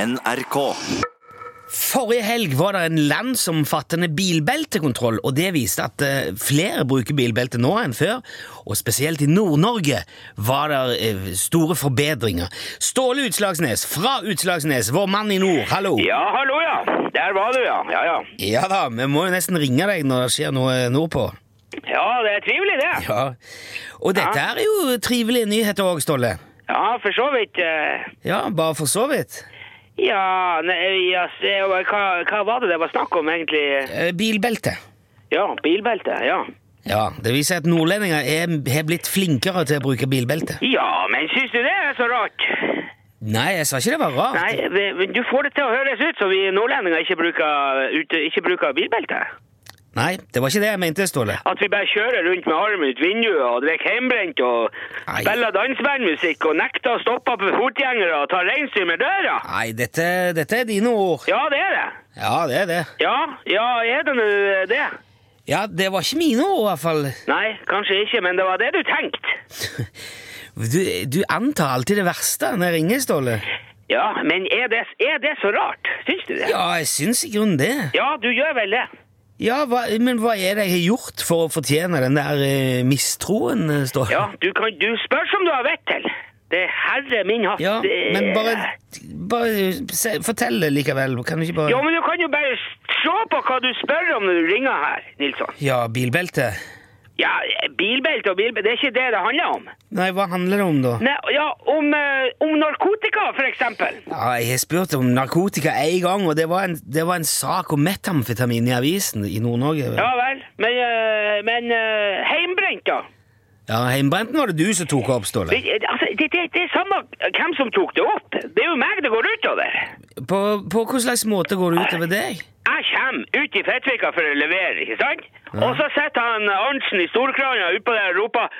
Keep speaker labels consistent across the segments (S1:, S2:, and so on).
S1: NRK.
S2: Forrige helg var det en landsomfattende bilbeltekontroll, og det viste at eh, flere bruker bilbelte nå enn før, og spesielt i Nord-Norge var det eh, store forbedringer. Ståle Utslagsnes fra Utslagsnes, vår mann i nord, hallo!
S3: Ja, hallo, ja. Der var du, ja. Ja, ja.
S2: Ja da, vi må jo nesten ringe deg når det skjer noe nordpå.
S3: ja det er trivelig, det.
S2: Ja. Og dette er jo trivelige nyheter òg, Ståle.
S3: Ja, for så vidt. eh,
S2: Ja, bare for så vidt.
S3: Ja, nei, ja se, hva, hva var det det var snakk om, egentlig?
S2: Eh, Bilbelte.
S3: Ja, bilbelte, ja.
S2: Ja, det viser at nordlendinger er- har blitt flinkere til å bruke bilbelte.
S3: Ja, men syns du det er så rart?
S2: Nei, jeg sa ikke det var rart.
S3: Nei, vi- men du får det til å høres ut som vi nordlendinger ikke bruker, ute, ikke bruker bilbelte.
S2: Nei, det var ikke det jeg mente, Ståle.
S3: At vi bare kjører rundt med armen ut vinduet og drikker hjemmebrent og
S2: Nei.
S3: spiller dansebandmusikk og nekter å stoppe for fotgjengere og tar reinsdyr med døra.
S2: Nei, dette, dette er dine ord.
S3: Ja, det er det.
S2: Ja, det er det.
S3: Ja, ja, er det nå det?
S2: Ja, det var ikke mine ord, i hvert fall.
S3: Nei, kanskje ikke, men det var det du tenkte.
S2: Du, du antar alltid det verste når jeg ringer, Ståle.
S3: Ja, men er det, er det så rart? Syns du det?
S2: Ja, jeg syns i grunnen det.
S3: Ja, du gjør vel det.
S2: Ja, hva, Men hva er det jeg har gjort for å fortjene den der eh, mistroen, eh, Ståle?
S3: Ja, du, kan, du spør som du har vett til. Det er herre min hatt.
S2: Ja,
S3: det-
S2: men bare, bare se, fortell det likevel. Kan du ikke
S3: Jo,
S2: bare
S3: men du kan jo bare se på hva du spør om når du ringer her, Nilsson.
S2: Ja, bilbelte.
S3: Ja, bilbelte og bilbelte, det er ikke det det handler om.
S2: Nei, hva handler det om, da?
S3: Nei, ja, om, eh, om narkotika, for eksempel.
S2: Ja, jeg har spurt om narkotika én gang, og det var, en, det var en sak om metamfetamin i avisen i Nord-Norge.
S3: Ja vel, men, eh, men eh, heimbrent da?
S2: Ja, Heimbrenten var det du som tok opp, Ståle.
S3: Men, eh, Altså, det, det, det er samme hvem som tok det opp. Det er jo meg det går utover.
S2: På, på hvilken slags måte går det utover deg?
S3: Jeg kommer ut i Fettvika for å levere, ikke sant? Og så setter han Arntzen i storkrana utpå der og roper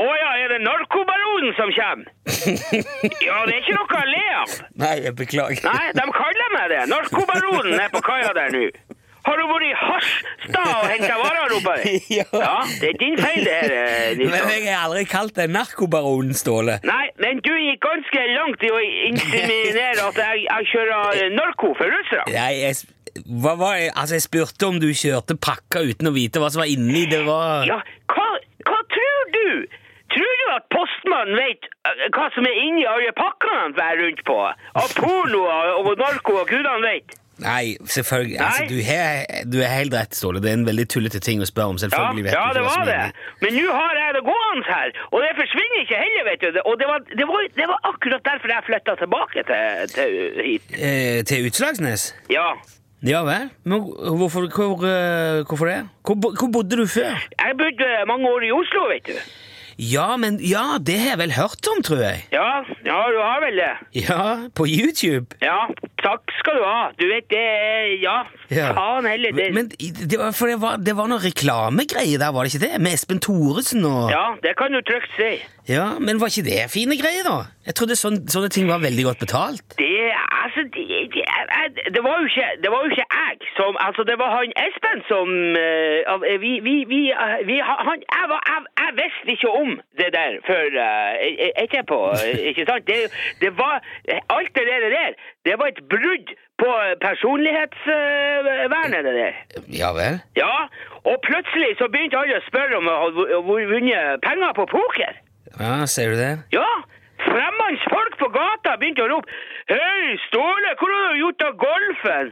S3: Å ja, er det narkobaronen som kommer? ja, det er ikke noe å le av.
S2: Nei, jeg beklager.
S3: Nei, de kaller meg det. Narkobaronen er på kaia der nå. Har du vært i Harstad og henta varer, roper de.
S2: Ja.
S3: Ja, det er din feil, det her, eh,
S2: Men
S3: Nilsson.
S2: jeg har aldri kalt deg narkobaronen, Ståle.
S3: Nei, men du gikk ganske langt i å inseminere at jeg, jeg kjører eh, narko for russere.
S2: Nei, jeg, sp- hva var det? Altså, jeg spurte om du kjørte pakka uten å vite hva som var inni. Det var
S3: Ja, hva, hva tror du? Tror du at postmannen vet eh, hva som er inni alle pakkene han bærer rundt på? Av porno og og narko og gudene vet?
S2: Nei, selvfølgelig. Altså,
S3: Nei.
S2: du, har, du er helt rett, Ståle. Det er en veldig tullete ting å spørre om.
S3: Ja,
S2: Selvfølgelig vet
S3: ja
S2: du ikke
S3: det
S2: hva
S3: var
S2: som
S3: det.
S2: er inni.
S3: Men nå har jeg det gående her, og det forsvinner ikke heller, vet du. Og det var, det var, det var akkurat derfor jeg flytta tilbake til, til hit.
S2: Eh, til Utslagsnes?
S3: Ja.
S2: Ja vel? Men hvorfor, hvor, eh, hvorfor det? Hvor, bo- hvor bodde du før?
S3: Jeg bodde mange år i Oslo, vet du.
S2: Ja, men Ja, det har jeg vel hørt om, tror jeg.
S3: Ja, ja du har vel det.
S2: Ja, på YouTube.
S3: Ja, takk skal du ha. Du vet, det er Ja,
S2: Ja.
S3: faen heller. Det,
S2: Men i- det var, for det var, det var noen reklamegreier der, var det ikke det? Med Espen Thoresen og ja.
S3: ja, det kan du trygt si.
S2: Men var ikke det fine greier, da? Jeg trodde sånn, sånne ting var veldig godt betalt.
S3: Det, altså, det, det, jeg- det var jo ikke, det var jo ikke jeg som Altså, det var han Espen som eh, av- eh, Vi, vi, vi, eh, vi han, jeg, var, jeg, jeg visste ikke om det der før eh, et- etterpå, eh, ikke sant? Det, det var Alt det der, det der, det var et brudd på personlighetsvernet, det der.
S2: Ja vel?
S3: Ja, og plutselig så begynte alle å spørre om jeg hadde vu- vunnet penger på poker.
S2: Ja, ser du det?
S3: Ja, fremmannsfolk på gata begynte å rope Hei, Ståle, hvor har du gjort av golfen?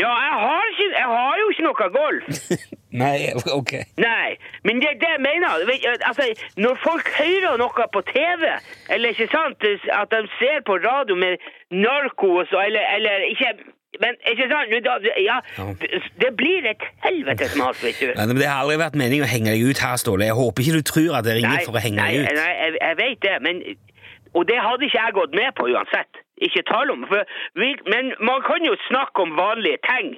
S3: Ja, jeg har, ikke, jeg har jo ikke noe golf.
S2: Nei, ok.
S3: Nei, men det er det jeg mener. Vet du, Altså, når folk hører noe på TV, eller ikke sant, at de ser på radio med narkos, og- eller, eller ikke men ikke sant? men da- Ja, det blir et helvetes mas, vet du.
S2: Nei, men Det har aldri vært meningen å henge deg ut her, Ståle. Jeg håper ikke du tror at jeg ringer for å henge
S3: nei,
S2: deg ut.
S3: Nei, jeg, jeg vet det, men Og det hadde ikke jeg gått med på uansett. Ikke tale om. For vi, men man kan jo snakke om vanlige ting.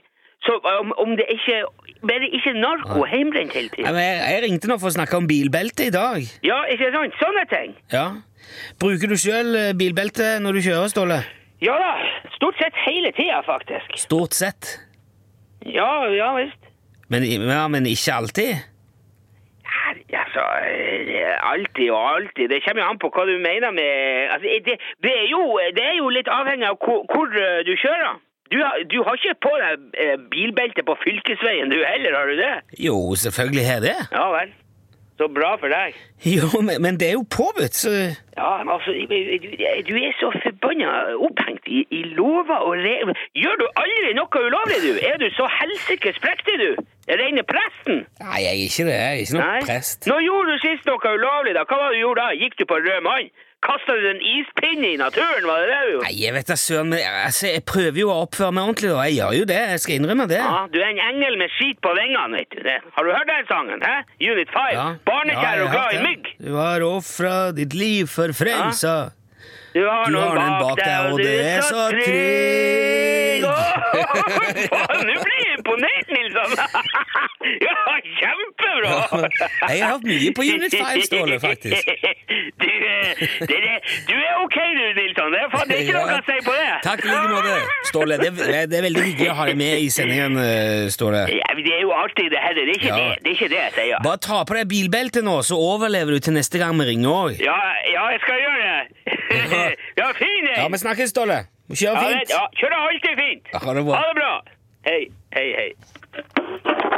S3: Så om, om det ikke Bare ikke narko og hjemmebrent hele
S2: Nei,
S3: tiden.
S2: men jeg, jeg ringte nå for å snakke om bilbelte i dag.
S3: Ja, ikke sant? Sånne ting.
S2: Ja. Bruker du sjøl bilbelte når du kjører, Ståle?
S3: Ja da. Stort sett hele tida, faktisk.
S2: Stort sett.
S3: Ja, ja visst.
S2: Men, ja, men ikke alltid?
S3: Her- Ja, altså eh, Alltid og alltid. Det kommer jo an på hva du mener med altså, eh, det, det, er jo, det er jo litt avhengig av hvor, hvor eh, du kjører. Du, har- du har ikke på deg eh, bilbelte på fylkesveien du heller, har du det?
S2: Jo, selvfølgelig er det.
S3: Ja vel. Så bra for deg.
S2: Jo, men, men det er jo påbudt, så
S3: Ja, men altså, du, du er så forbanna opphengt i, i lover og regler. Gjør du aldri noe ulovlig, du? Er du så helsikes prektig, du? Reine presten?
S2: Nei, jeg er ikke det. Jeg er ikke noen prest.
S3: Nå gjorde du sist noe ulovlig, da. Hva var det du gjorde da? Gikk du på rød mann? Kasta du en ispinne i naturen, var det det du gjorde?
S2: Nei, jeg vet da søren, men altså, jeg prøver jo å oppføre meg ordentlig, og jeg gjør jo det. Jeg skal innrømme det.
S3: Ja, du er en engel med skit på vingene, vet du det. Har du hørt den sangen? hæ? Unit 5. Barnekjær og glad i mygg.
S2: Du har ofra ditt liv for frelsa.
S3: Du har,
S2: Du
S3: noen
S2: har den bak deg, og
S3: du
S2: det er så
S3: trygg.
S2: trygg.
S3: Åh, faen, Nå blir jeg imponert, Nilsson! Ja, kjempebra!
S2: Jeg har hatt mye på Unit 5, Ståle, faktisk.
S3: Du, eh, det, det, du er ok, du, Nilsson. Det er, faen, det er ikke noe å si på det.
S2: Takk i like måte, Ståle. Det, er- det er veldig hyggelig å ha deg med i sendingen, eh, Ståle.
S3: Ja, men det er jo alltid det her. Det er ikke,
S2: Ja.
S3: det, det, er ikke det jeg sier.
S2: Bare ta på deg bilbeltet nå, så overlever du til neste gang vi ringer òg.
S3: Ja, ja, jeg skal gjøre det. Ja, fin
S2: Ja, vi
S3: jeg.
S2: snakkes, Ståle. Kjør
S3: Ja,
S2: fint.
S3: ja, kjører alltid fint.
S2: Ha det bra.
S3: Ha det bra. Hei, hei, hei.